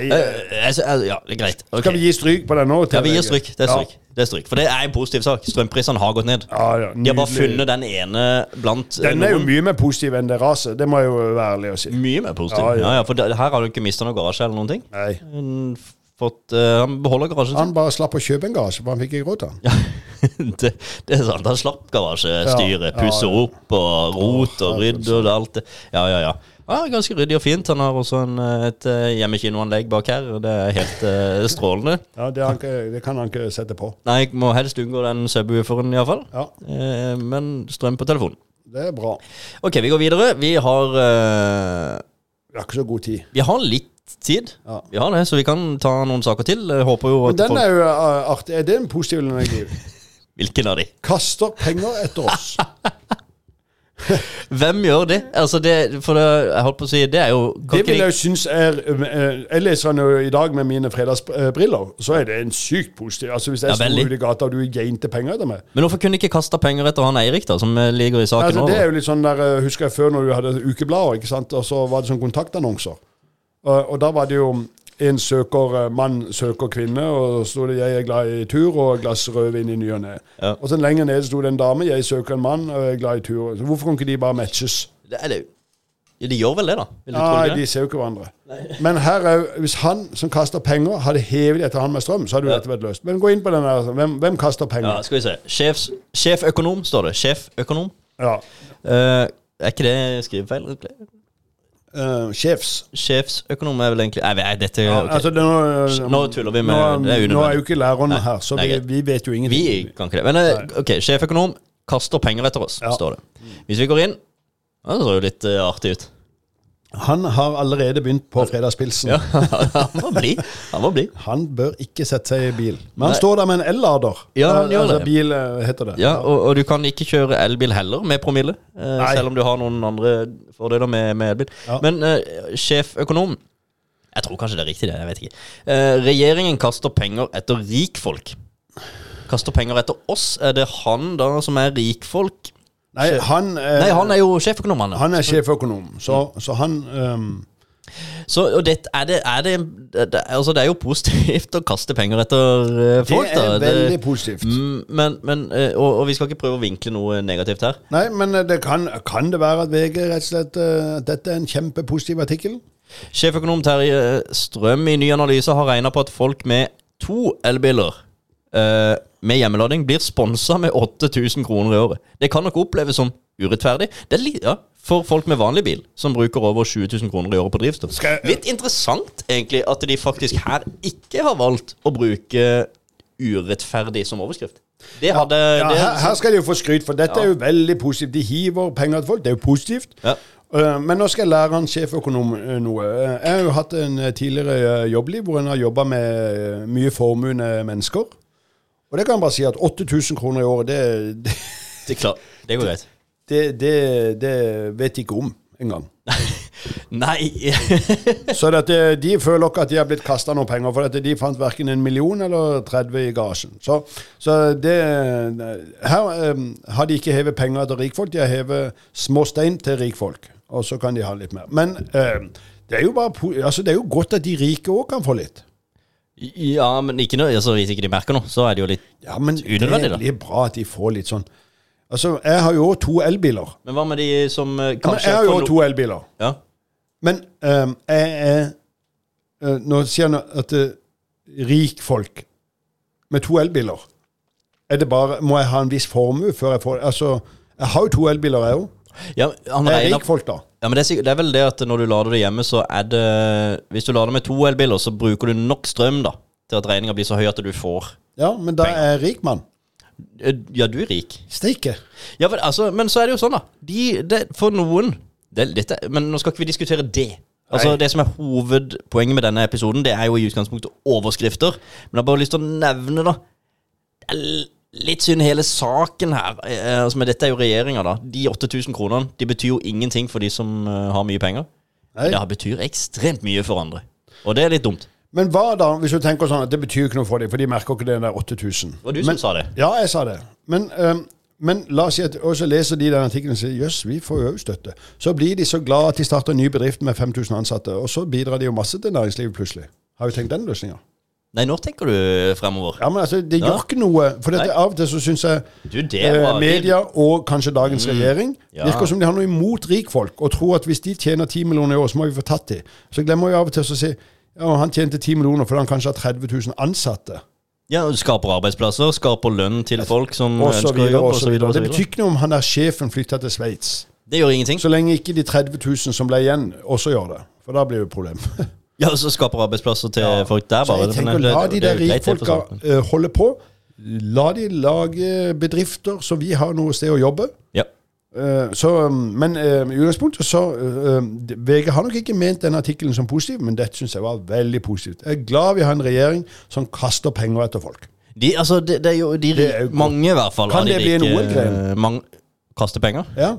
Eh, altså, eh, ja, det er greit. Ok.
Skal vi gi stryk på den nå? til
ja, vi gir
VG?
stryk. Det er stryk. Det er stryk. For det er en positiv sak. Strømprisene har gått ned.
Ja, ja,
De har bare
nydelig.
funnet den ene blant eh,
Den er jo
noen.
mye mer positiv enn det raset, det må jeg jo være ærlig og si.
mye mer positiv.
Ja,
Ja,
ja.
ja. for det, her har du ikke mista noe garasje eller noen ting.
Nei.
Han Fått, eh, han beholder garasjen sin.
Han bare slapp å kjøpe en garasje, for han fikk ikke råd til den.
Ja, det, det er sant. Han slapp garasjestyret.
Ja, ja,
Pusse
ja.
opp og rot og rydd og det alt det. Ja, ja, ja. Ja, ganske ryddig og fint. Han har også en, eh, et eh, hjemmekinoanlegg bak her. og Det er helt eh, strålende.
Ja, det, har han ikke, det kan han ikke sette på.
Nei, jeg må helst unngå den subwooferen, iallfall.
Ja,
Eh, men strøm på telefonen.
Det er bra.
Ok, vi går videre. Vi har, eh,
Vi har ikke så god tid.
vi har litt tid.
Ja.
Vi har det, så vi kan ta noen saker til. Jeg håper jo
Men
at
den
folk
er jo eh, artig. Er det en positiv eller negativ?
Hvilken av de?
Kaster penger etter oss.
Hvem gjør det? Altså, det For det, jeg holdt på å si, det er jo kan
Det
ikke
vil
de-
jeg jo synes er eh, eh, Jeg leser den jo i dag med mine fredagsbriller, så er det en sykt positiv Altså Hvis jeg
Ja,
sto
veldig.
ute i gata og du geinte penger etter meg
Men hvorfor kunne de ikke kaste penger etter han Eirik, da, som eh, ligger i saken
altså,
nå?
Det
da?
er jo litt sånn der eh, Husker jeg før når du hadde ukeblader, ikke sant? og så var det sånn kontaktannonser. Og, og da var det jo mm, en søker eh, mann søker kvinne, og så sto det 'jeg er glad i tur' og et 'glass rødvin i ny og ne'.
Ja.
Og så lenger nede sto det en dame 'jeg søker en mann og jeg er glad i tur'. Så hvorfor kan ikke de bare matches?
Det er det jo. Ja, de gjør vel det, da? Vil du tro
Nei,
det?
de ser jo ikke hverandre. Men her er, jo- hvis han som kaster penger, hadde hevet etter han med strøm, så hadde jo
Ja.
dette vært løst. Men gå inn på den der. altså. Hvem, hvem kaster
Ja,
penger?
skal vi se. Sjefs, sjeføkonom, står det. Sjeføkonom.
Ja.
Eh, er ikke det skrivefeil?
Eh, sjefs.
Sjefsøkonom er vel egentlig Nei, nei, dette
Ja,
ok.
altså, det nå,
Nå tuller vi med-
nå,
det er unødvendig.
Nå er jo ikke læreren her, så
nei,
vi,
greit.
vi vet jo
Vi
ingenting.
kan ikke det. Men eh, ok, sjeføkonom kaster penger etter oss,
Ja.
står det. Hvis vi går inn ja, Det ser jo litt eh, artig ut.
Han har
Allerede begynt på fredagspilsen.
Altså, Ja, han må bli. Han må bli.
Han bør ikke sette seg i bil.
Men han
Nei.
står der med en el-lader.
Ja, han gjør
altså,
det.
Bil eh, heter det.
Ja, og, og du kan ikke kjøre elbil heller, med promille. eh,
Nei.
selv om du har noen andre fordeler med, med elbil.
Ja.
Men eh, sjeføkonom Jeg tror kanskje det er riktig, det. Jeg vet ikke. Eh, regjeringen kaster penger etter rikfolk. Kaster penger etter oss. Er det han da som er rikfolk?
Nei, han, eh,
Nei, han er jo sjeføkonom, han.
han er sjeføkonom, så, så han ehm,
Så og det, er det, er det, det, altså, det er jo positivt å kaste penger etter eh,
Det
folk,
er
da.
veldig positivt.
Mm, men, men eh, og, og vi skal ikke prøve å vinkle noe negativt her.
Nei, men eh, det kan, kan det være at VG rett og slett eh, Dette er en kjempepositiv artikkel?
Sjeføkonom Terje Strøm i Ny Analyse har regna på at folk med to elbiler eh, med hjemmelading blir sponsa med 8000 kroner i året. Det kan nok oppleves som urettferdig. Det er li ja, for folk med vanlig bil, som bruker over 20 000 kroner i året på drivstoff.
Skal jeg-
Litt interessant, egentlig, at de faktisk her ikke har valgt å bruke urettferdig som overskrift. Det hadde
Ja,
Eh, det,
her, her skal de jo få skryt, for dette er jo veldig positivt. De hiver penger til folk, det er jo positivt.
Ja.
Eh, Men nå skal jeg lære han sjeføkonom eh, noe. Eh, Jeg har jo hatt en eh, tidligere eh, jobbliv hvor en har jobba med eh, mye formuende mennesker. Og det kan jeg bare si at 8000 kroner i året, det, det,
det, er klart. det går greit.
det, det, det vet de ikke om engang.
Nei
Så dette, de føler ikke at de har blitt kasta noen penger, for dette, de fant verken en million eller 30 i garasjen. Så, så det eh, Her em, har de ikke hevet penger til rikfolk, de har hevet små stein til rikfolk. Og så kan de ha litt mer. Men em, det er jo bare po- altså, det er jo godt at de rike òg kan få litt.
Ja, men ikke noe, altså, hvis ikke de merker noe, så er det jo litt
Ja, men
Unødvendig, da.
det blir bra at de får litt sånn Altså, jeg har jo òg to elbiler.
Men hva med de som eh,
Ja, men
kanskje
jeg har jo
får
òg
no-
to elbiler.
Ja.
Men ehm, jeg er eh, Nå sier han at uh, rikfolk med to elbiler er det bare, Må jeg ha en viss formue før jeg får Altså, jeg har jo to elbiler, jeg òg.
Ja, han
Jeg er
regner,
rikfolk, da.
ja, men det er, sikkert, det er vel det at når du lader det hjemme, så er det Hvis du lader med to elbiler, så bruker du nok strøm da til at regninga blir så høy at du får
Ja, men da er jeg rik mann.
Eh, Ja, du er rik.
Steike.
Ja, men, altså, men så er det jo sånn, da. De, det, for noen det, er- dette, Men nå skal ikke vi diskutere det. Altså,
Nei.
Det som er hovedpoenget med denne episoden, det er jo i utgangspunktet overskrifter. Men jeg har bare lyst til å nevne, da det er l- Litt synd hele saken her. Eh, altså, men dette er jo regjeringa, da. De 8000 kronene de betyr jo ingenting for de som eh, har mye penger.
Nei.
Men Det betyr ekstremt mye for andre. Og det er litt dumt.
Men hva da, hvis du tenker sånn at det betyr ikke noe for dem, for de merker ikke den der 8000?
Det var du som
men,
sa det.
Ja, jeg sa det. Men, ehm, men la oss si at og så leser de den artikkelen og sier jøss, vi får jo også støtte. Så blir de så glad at de starter en ny bedrift med 5000 ansatte, og så bidrar de jo masse til næringslivet plutselig. Har vi tenkt den løsninga?
Nei, nå tenker du fremover.
Ja, men altså, det gjør ikke noe. For dette, av og til så syns jeg
Du, det
eh,
var Mm.
media og kanskje dagens regjering
Ja.
virker som de har noe imot rikfolk og tror at hvis de tjener 10 millioner i år, så må vi få tatt de. Så glemmer vi av og til å si ja, han tjente 10 millioner fordi han kanskje har 30 000 ansatte.
Ja, du skaper arbeidsplasser, skaper lønn til folk som
Og så
ønsker å
videre,
jobbe,
og så videre. Det
osv.
betyr ikke noe om han der sjefen flytter til Sveits.
Det gjør ingenting.
Så lenge ikke de 30 000 som ble igjen, også gjør det. For da blir det et problem.
Ja, og så skaper arbeidsplasser til folk der,
Så
bare.
jeg tenker,
Men det-
la
det-
de
det er
der
jo greit, det, for
rikfolka
så vidt.
eh, holde på. La de lage bedrifter så vi har noe sted å jobbe.
Ja.
Eh, så, um, men eh, i utgangspunktet så eh, eh, VG har nok ikke ment denne artikkelen som positiv, men dette syns jeg var veldig positivt. Jeg er glad vi har en regjering som kaster penger etter folk.
De, altså, det, det er jo de,
Det er jo godt.
Mange, i hvert fall.
Kan
av de
det bli en
rike,
OL-greie?
eh, mang- Kaste penger?
Ja.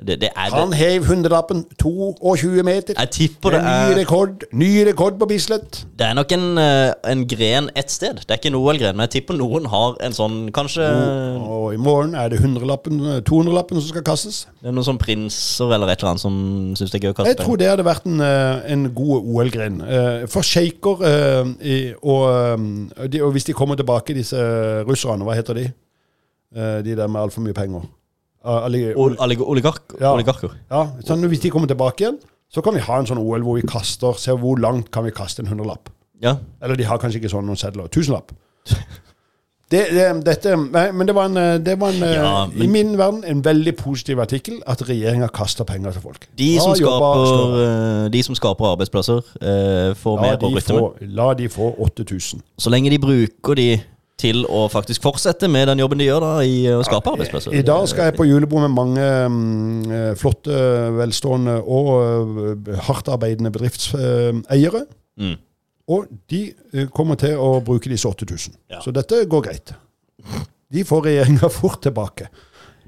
Det, det er det.
Han heiv hundrelappen 22 meter.
Jeg tipper det
En ny
er
rekord. Ny rekord på Bislett.
Det er nok en, eh, en gren ett sted. Det er ikke en OL-gren, men jeg tipper noen har en sånn Kanskje Øh.
Og i morgen er det 100-lappen, eh, 200-lappen som skal kastes.
det er noen sånn prinser eller et eller annet som syns det er gøy å kaste
Jeg tror det hadde vært en, eh, en god OL-gren. Eh, For sjeiker eh, i- og, eh, de- og hvis de kommer tilbake, disse russerne, hva heter de? Eh, De der med altfor mye penger. Ah, alle-
Ol olig- oligark
Ja.
Oligarker.
Ja, sånn, Hvis de kommer tilbake igjen, så kan vi ha en sånn OL hvor vi kaster, se hvor langt kan vi kaste en hundrelapp.
Ja.
Eller de har kanskje ikke sånn noen sedler. Tusenlapp. Det, det, dette, nei, men det var, en, eh, det var en, eh,
Ja,
i
men-
min verden en veldig positiv artikkel at regjeringa kaster penger til folk.
De som,
Bra jobba,
skaper,
Støre.
eh, de som skaper arbeidsplasser, eh, får
La
mer på
de,
rytmen.
få, la de få 8000.
Så lenge de bruker de til å faktisk fortsette med den jobben de gjør da i eh, å skape arbeidsplasser.
I dag skal jeg på julebord med mange mm, eh, flotte, velstående og eh, hardtarbeidende bedriftseiere.
Mm.
Og de eh, kommer til å bruke disse 8000.
Ja.
Så dette går greit. De får regjeringa fort tilbake.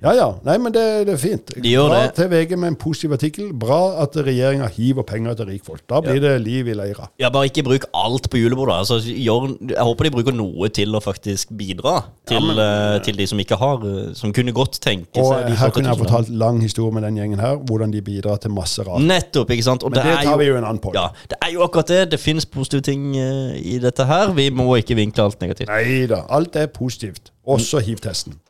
Ja ja. Nei, men det, det er fint.
De gjør
Bra
det.
til VG med en positiv artikkel. Bra at regjeringa hiver penger til rikfolk. Da blir det liv i leira.
Ja, Bare ikke bruk alt på julebordet. Altså, gjør, jeg håper de bruker noe til å faktisk bidra til, eh, til de som ikke har eh, Som kunne godt tenke
Og
seg de
her kunne jeg
40 000.
fortalt lang historie med den gjengen her, hvordan de bidrar til masse rart.
Nettopp, ikke sant? Og
Men det
er
tar vi jo en annen på.
Ja, det er jo akkurat det. Det finnes positive ting eh, i dette her. Vi må ikke vinkle alt negativt.
Nei da, alt er positivt. Også HIV-testen.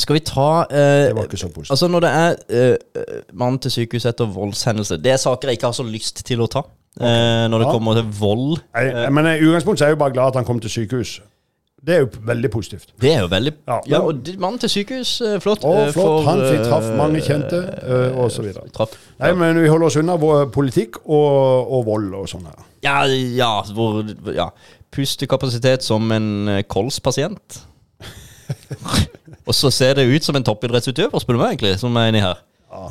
Skal vi ta eh,
Det var ikke så positivt.
Altså Når det er eh, eh, mann til sykehus etter voldshendelse Det er saker jeg ikke har så lyst til å ta. eh, når det
Ja.
kommer til vold.
Nei, men i utgangspunktet er jeg jo bare glad at han kom til sykehus. Det er jo p- veldig positivt.
Det er jo veldig Ja,
Ja.
og det- Mann til sykehus, eh, flott.
Og
eh,
flott,
for,
han fikk
eh,
traff mange kjente, eh, og så videre.
Traff.
Nei, men vi holder oss unna vår politikk og, og vold og sånn her.
Ja, ja, hvor, ja. Pustekapasitet som en eh, kolspasient. og så ser det ut som en toppidrettsutøver, spør du meg, egentlig, som er inni her.
Ja.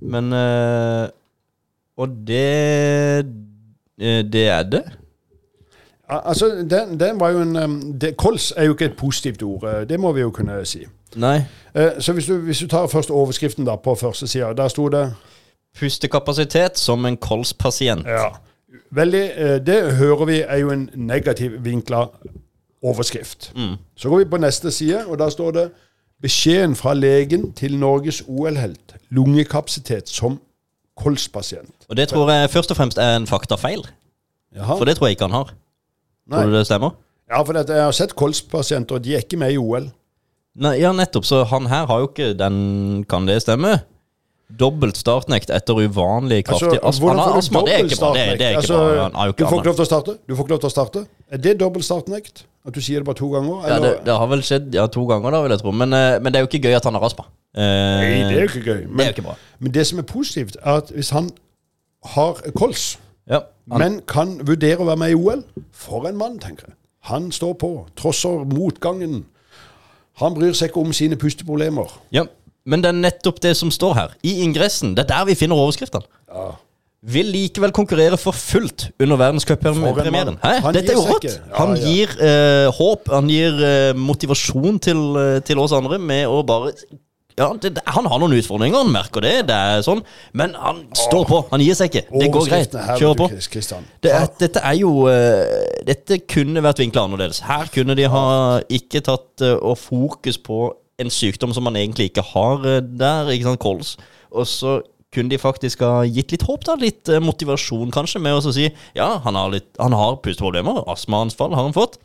Men eh, Og det eh, Det er det.
Al- Altså, den, den var jo en em, det, Kols er jo ikke et positivt ord, eh, det må vi jo kunne si.
Nei.
Eh, Så hvis du, hvis du tar først overskriften da på første sida, der sto det
Pustekapasitet som en kolspasient.
Ja. Veldig, eh, det hører vi er jo en negativ vinkla overskrift.
Mm.
Så går vi på neste side, og der står det Beskjeden fra legen til Norges OL-helt. Lungekapasitet som kolspasient.
Og det tror jeg først og fremst er en faktafeil.
Jaha.
For det tror jeg ikke han har.
Nei.
Tror du det stemmer?
Ja, for dette, jeg har sett kolspasienter, og de er ikke med i OL.
Nei, ja, nettopp. Så han her har jo ikke den Kan det stemme? Dobbelt startnekt etter uvanlig kraftig astma.
Altså, hvordan
altså, Han har
får du
astma. Det er ikke bra. Det,
dobbeltstartnekt?
det er ikke
Altså,
bra. Han har jo
du
ikke
får
astma.
ikke lov til å starte. Du får ikke lov til å starte. Er det dobbelt startnekt? At du sier det bare to ganger?
Ja, det,
Eller?
det har vel skjedd ja, to ganger, da, vil jeg tro. Men, eh, men det er jo ikke gøy at han har astma. Eh,
Nei, det er jo ikke gøy.
det er
Men,
jo ikke bra.
men det som er positivt, er at hvis han har kols
Ja, han,
Men kan vurdere å være med i OL. For en mann, tenker jeg. Han står på, trosser motgangen. Han bryr seg ikke om sine pusteproblemer.
ja. men det er nettopp det som står her. I ingressen. Det er der vi finner overskriftene.
Ja.
Vil likevel konkurrere for fullt under
For en mann.
verdenscuppremieren. Hæ?
Han
Dette er
gir
jo
seg
rått!
ikke. Ja,
han
ja.
gir eh, håp, han gir eh, motivasjon til, eh, til oss andre med å bare ja, det, det- Han har noen utfordringer, han merker det, det er sånn, men han står på. Han gir seg ikke. Det går greit.
Overskriftene her,
Kjør
vet
på.
du, Chris- Christian.
Det er, dette er jo eh, Dette kunne vært vinkla annerledes. Her kunne de ha ikke tatt eh, og fokus på en sykdom som man egentlig ikke har eh, der, ikke sant, kols. Og så kunne de faktisk ha gitt litt håp, da. Litt eh, motivasjon, kanskje, med å så si ja, han har, litt, han har pusteproblemer. Astmaanfall har han fått.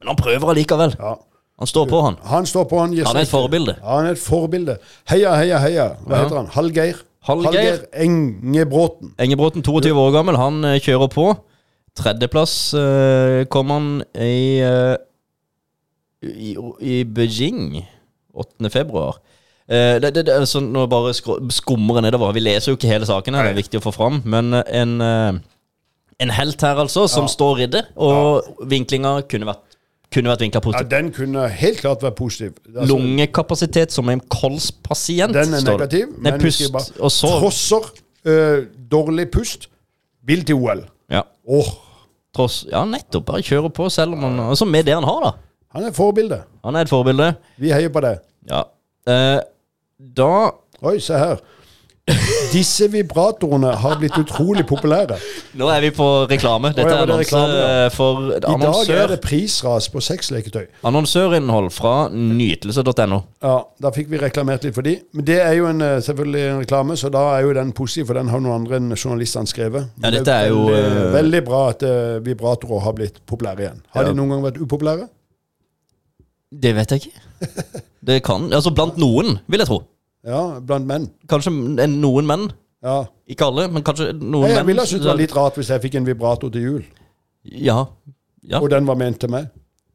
Men han prøver allikevel.
Ja.
Han står på, han.
Han står på, han gir
Han er et
ikke.
forbilde.
Ja, han er et forbilde. Heia, heia, heia. Hva
Ja.
heter han? Hallgeir?
Hallgeir.
Engebråten.
Engebråten, 22 år gammel, han eh, kjører på. Tredjeplass eh, kom han i, eh, i, i Beijing 8. februar. Eh, det, det, det, er sånn, nå bare skro- skummer jeg nedover. Vi leser jo ikke hele saken, her, det er viktig å få fram. Men eh, en, eh, en helt her, altså, som står i det. Og vinklinga kunne vært Kunne vært vinkla
Ja,
positivt.
den kunne helt klart vært positiv. Altså,
Lungekapasitet som en kolspasient.
Den er
står det.
negativ,
Nei,
men
pust,
ikke bare-
og så
Trosser, øh, dårlig pust, vil til OL.
ja,
Åh,
tross, ja, nettopp. Bare kjøre på, selv om han Altså med det han har, da.
han er forbilde.
Han er et forbilde.
Vi heier på det.
Ja. Eh, da
Oi, se her. Disse vibratorene har blitt utrolig populære.
Nå er vi på reklame. Dette er
Å, ja, var det
annonse
reklame, ja.
eh, for
I dag er
annonsør,
det prisras på sexleketøy.
annonsørinnhold fra nytelse.no.
Ja, Da fikk vi reklamert litt for de. Men det er jo en, eh, selvfølgelig en reklame, så da er jo den positiv, for den har noen andre enn journalistene skrevet.
Ja,
Men det
dette er jo,
veldig,
eh,
veldig bra at eh, vibratorer har blitt populære igjen. Har
Ja.
de noen gang vært upopulære?
Det vet jeg ikke. Det kan Altså blant noen, vil jeg tro.
Ja, blant menn.
Kanskje en- noen menn.
Ja.
Ikke alle, men kanskje noen
Jeg,
menn.
jeg ville ha syntes det var litt rart hvis jeg fikk en vibrator til jul,
Ja. Ja,
og den var ment til meg.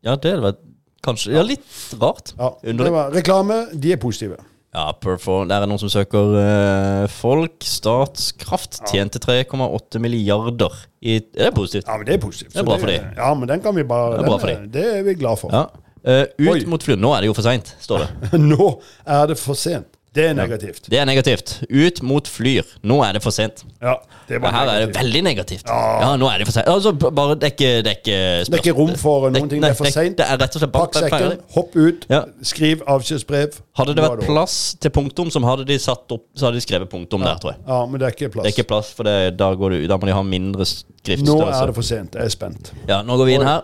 ja det hadde vært Kanskje Ja, litt rart.
Ja,
Underlig.
det var, reklame, de er positive.
Ja, Perfor, der er noen som søker eh, folk. Statskraft tjente 3,8 milliarder. I, det er positivt.
Ja, men det er positivt.
Det er bra
Så
for de.
Ja, men den kan vi bare
Det er bra for
den, det er vi glad for.
Ja. Eh, ut
Oi.
mot flyet. Nå er det jo for seint, står det.
Nå er det for sent. Det er negativt.
Det er negativt. Ut mot flyr. Nå er det for sent.
Ja, det
Ja,
var
her er det
negativt.
veldig negativt. Ja, nå er det for sent. Altså, b- bare det er ikke Det er ikke,
Det er ikke rom for noen ting. Det er for
sent
sent.
Det er rett og slett
Pakk
bare
sekken,
ferdig.
hopp ut,
Ja.
skriv avskjedsbrev.
Hadde det
Nå er
vært
over.
plass til punktum, som hadde de satt opp, så hadde de skrevet punktum der, tror jeg.
Ja, men det er ikke plass.
Det er ikke plass, for det, da, går det, ut- da må de ha mindre skriftstørrelse.
Nå er det for sent. Jeg er spent.
Ja, nå går vi inn her.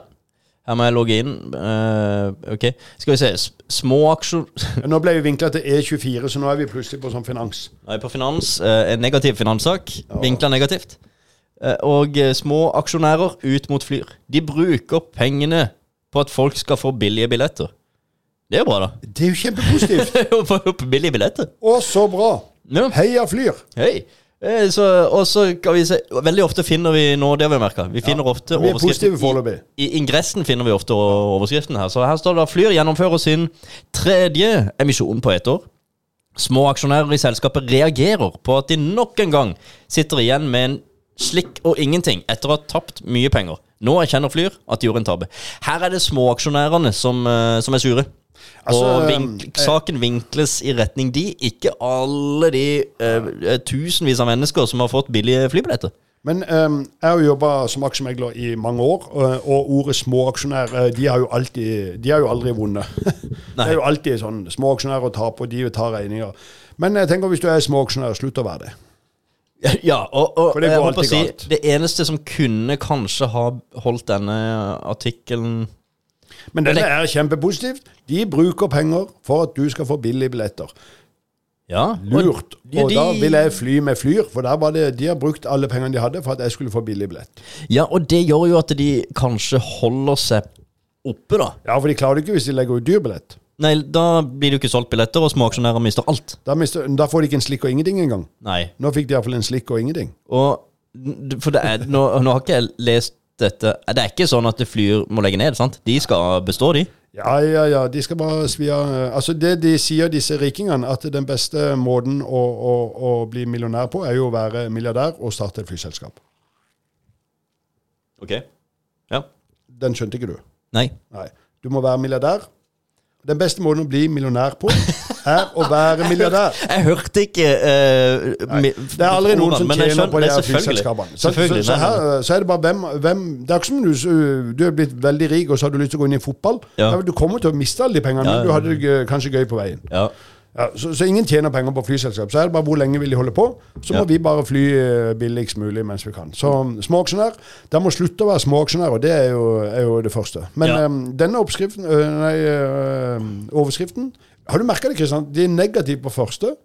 Her må jeg logge inn. Eh, ok, Skal vi se. S- Små aksjer
Nå ble vi vinkla til E24, så nå er vi plutselig på sånn finans.
Nå er vi på finans. Eh, en negativ finanssak. Vinkla negativt. Eh, og eh, små aksjonærer ut mot Flyr. De bruker pengene på at folk skal få billige billetter. Det er jo bra, da.
Det er jo kjempepositivt!
Å få opp billige billetter.
Å, så bra!
Ja,
Heia Flyr!
hei. Eh, så, og så kan vi se Veldig ofte finner vi nå det har vi merka. Vi finner ofte
Vi er
overskriften.
positive foreløpig.
I ingressen finner vi ofte o- overskriften her. Så her står det da Flyr gjennomfører sin tredje emisjon på ett år. Små aksjonærer i selskapet reagerer på at de nok en gang sitter igjen med en slikk og ingenting etter å ha tapt mye penger. Nå erkjenner Flyr at de gjorde en tabbe. Her er det småaksjonærene som, eh, som er sure. og
Altså,
vink, saken vinkles i retning de, ikke alle de eh, tusenvis av mennesker som har fått billige flybilletter.
Men ehm, jeg har jo jobba som aksjemegler i mange år, og, og ordet småaksjonær eh, De har jo alltid De har jo aldri vunnet. det er jo alltid sånn småaksjonærer taper, og de tar regninger. Men jeg tenker hvis du er småaksjonær, slutt å være det.
Ja, og, og eh,
For det
jeg
går
holdt på å
alltid
si,
galt.
det eneste som kunne kanskje ha holdt denne artikkelen
Men dette er kjempepositivt. De bruker penger for at du skal få billige billetter.
Ja,
Lurt.
Ja,
Og
de-
da vil jeg fly med Flyr, for der var det, de har brukt alle pengene de hadde for at jeg skulle få billig billett.
ja, og det gjør jo at de kanskje holder seg oppe, da.
Ja, for de klarer det ikke hvis de legger ut dyr billett.
Nei, da blir det jo ikke solgt billetter, og småaksjonærer mister alt.
Da, mister, da får de ikke en slikk og ingenting engang.
Nei.
Nå fikk de iallfall en slikk og ingenting.
Og For det er Nå, nå har ikke jeg lest dette Det er ikke sånn at Flyr må legge ned, sant? De skal bestå, de.
Ja, ja, ja. De skal bare svi av eh, Altså, det de sier, disse rikingene, at den beste måten å, å, å bli millionær på, er jo å være milliardær og starte et flyselskap.
Ok. Ja.
Den skjønte ikke du.
Nei.
Nei. Du må være milliardær. Den beste måten å bli millionær på, er å være milliardær.
Jeg hørte ikke eh, mi-
Det er aldri noen
ordene,
som
men jeg
tjener på
skjønner-
de
Nei,
her
selvfølgelig.
flyselskapene. Så, så,
Selvfølgelig.
så,
nei, nei, nei.
her, så er det bare hvem, hvem Det er ikke som du, s- du er blitt veldig rik, og så har du lyst til å gå inn i fotball.
Ja.
Ja, Du kommer til å miste alle de pengene,
Ja, ja.
men du hadde det gøy- kanskje gøy på veien.
Ja.
Ja, så, så ingen tjener penger på flyselskap. Så er det bare hvor lenge vil de holde på. Så må
Ja.
vi bare fly eh, billigst mulig mens vi kan. Så um, småaksjonær. De må slutte å være småaksjonær, og det er jo, er jo det første. Men
Ja.
em, denne oppskriften, ø, nei, ø, overskriften Har du merka det, Kristian? De er negative på første,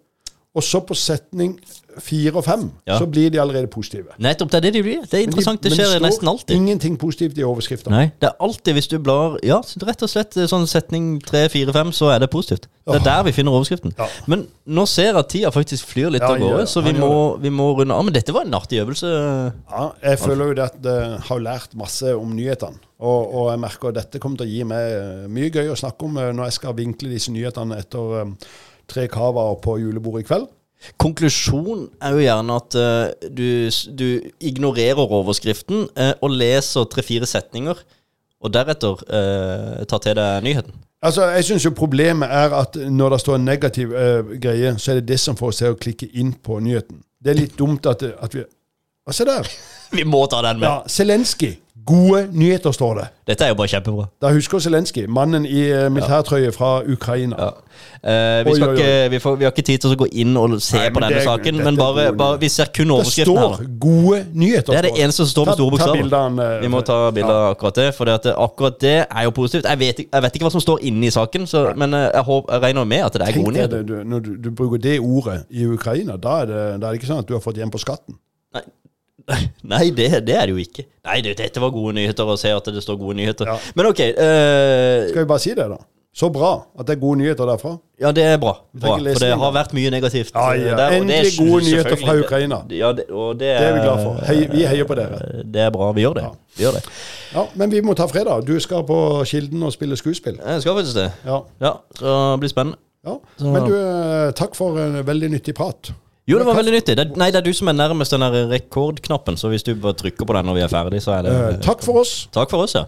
og så på setning fire og fem.
Ja.
Så blir de allerede positive.
Nettopp, det er det de blir. Det er interessant.
Men de-
det skjer
men står
nesten alltid.
Ingenting positivt i overskriften.
Nei, det er alltid hvis du blar Ja, rett og slett eh, sånn setning 3-4-5, så er det positivt. Det er der vi finner overskriften.
Ja.
Men nå ser jeg at tida faktisk flyr litt
Ja,
av
han gjør
gårde,
det.
så vi
Han gjør
må, vi må runde av. Men dette var en artig øvelse. eh,
Ja, jeg føler jo det at jeg har lært masse om nyhetene. Og, og jeg merker at dette kommer til å gi meg eh, mye gøy å snakke om eh, når jeg skal vinkle disse nyhetene etter eh, tre cavaer på julebordet i kveld.
Konklusjon er jo gjerne at eh, du, s- du ignorerer overskriften eh, og leser tre-fire setninger. og deretter eh, ta til deg nyheten.
Altså, Jeg syns jo problemet er at når det står en negativ eh, greie, så er det det som får oss til å klikke inn på nyheten. Det er litt dumt at, eh, at vi Å, Se der!
Vi må ta den med!
Ja, Zelenskyj. Gode nyheter, står det.
Dette er jo bare kjempebra.
Da husker jeg Zelenskyj. Mannen i eh, militærtrøye fra Ukraina.
Ja. Eh, vi,
Oi,
skal
oi, oi.
Ikke, vi, får, vi har ikke tid til å gå inn og se
Nei,
på
men
denne
det er-
saken,
dette
men
er
bare,
gode
bare, vi ser kun
Det
overskriften her.
står
da.
gode nyheter.
Det er det
står
eneste som står med
Ta-
store
Ta
bokstaver.
bildene. eh,
Vi må ta bilde av akkurat det, for det at akkurat det er jo positivt. Jeg vet, ikke- jeg vet ikke hva som står inni saken, så, men eh, jeg, håper, jeg regner med at det er
Tenk
gode
deg
nyheter.
det, du, når du, du bruker det ordet i Ukraina, da er, det, da er det ikke sånn at du har fått igjen på skatten.
Nei, det, det er det jo ikke. Nei, det, dette var gode nyheter å se at det står gode nyheter.
Ja.
Men ok, eh,
Skal vi bare si det, da? Så bra at det er gode nyheter derfra.
ja, det er bra. bra
trenger ikke lese
for det
den,
har
da.
vært mye negativt.
Ja, ja.
eh, der, og det er
Endelig gode nyheter
selvfølgelig-
fra Ukraina.
Ja, det, og det,
Det er vi glad for. Hei- vi heier på dere.
eh, Det er bra. Vi gjør det. Vi gjør det.
Ja, Men vi må ta fredag. Du skal på Kilden og spille skuespill.
Jeg Eh, skal faktisk det.
Ja.
Ja, så det blir spennende.
ja. Men du, eh, takk for en veldig nyttig prat.
Jo, det var veldig nyttig. Det er, nei, det er du som er nærmest den der rekordknappen, så hvis du bare trykker på den når vi er ferdig, så er det
Eh, Takk for oss.
Takk for oss, ja.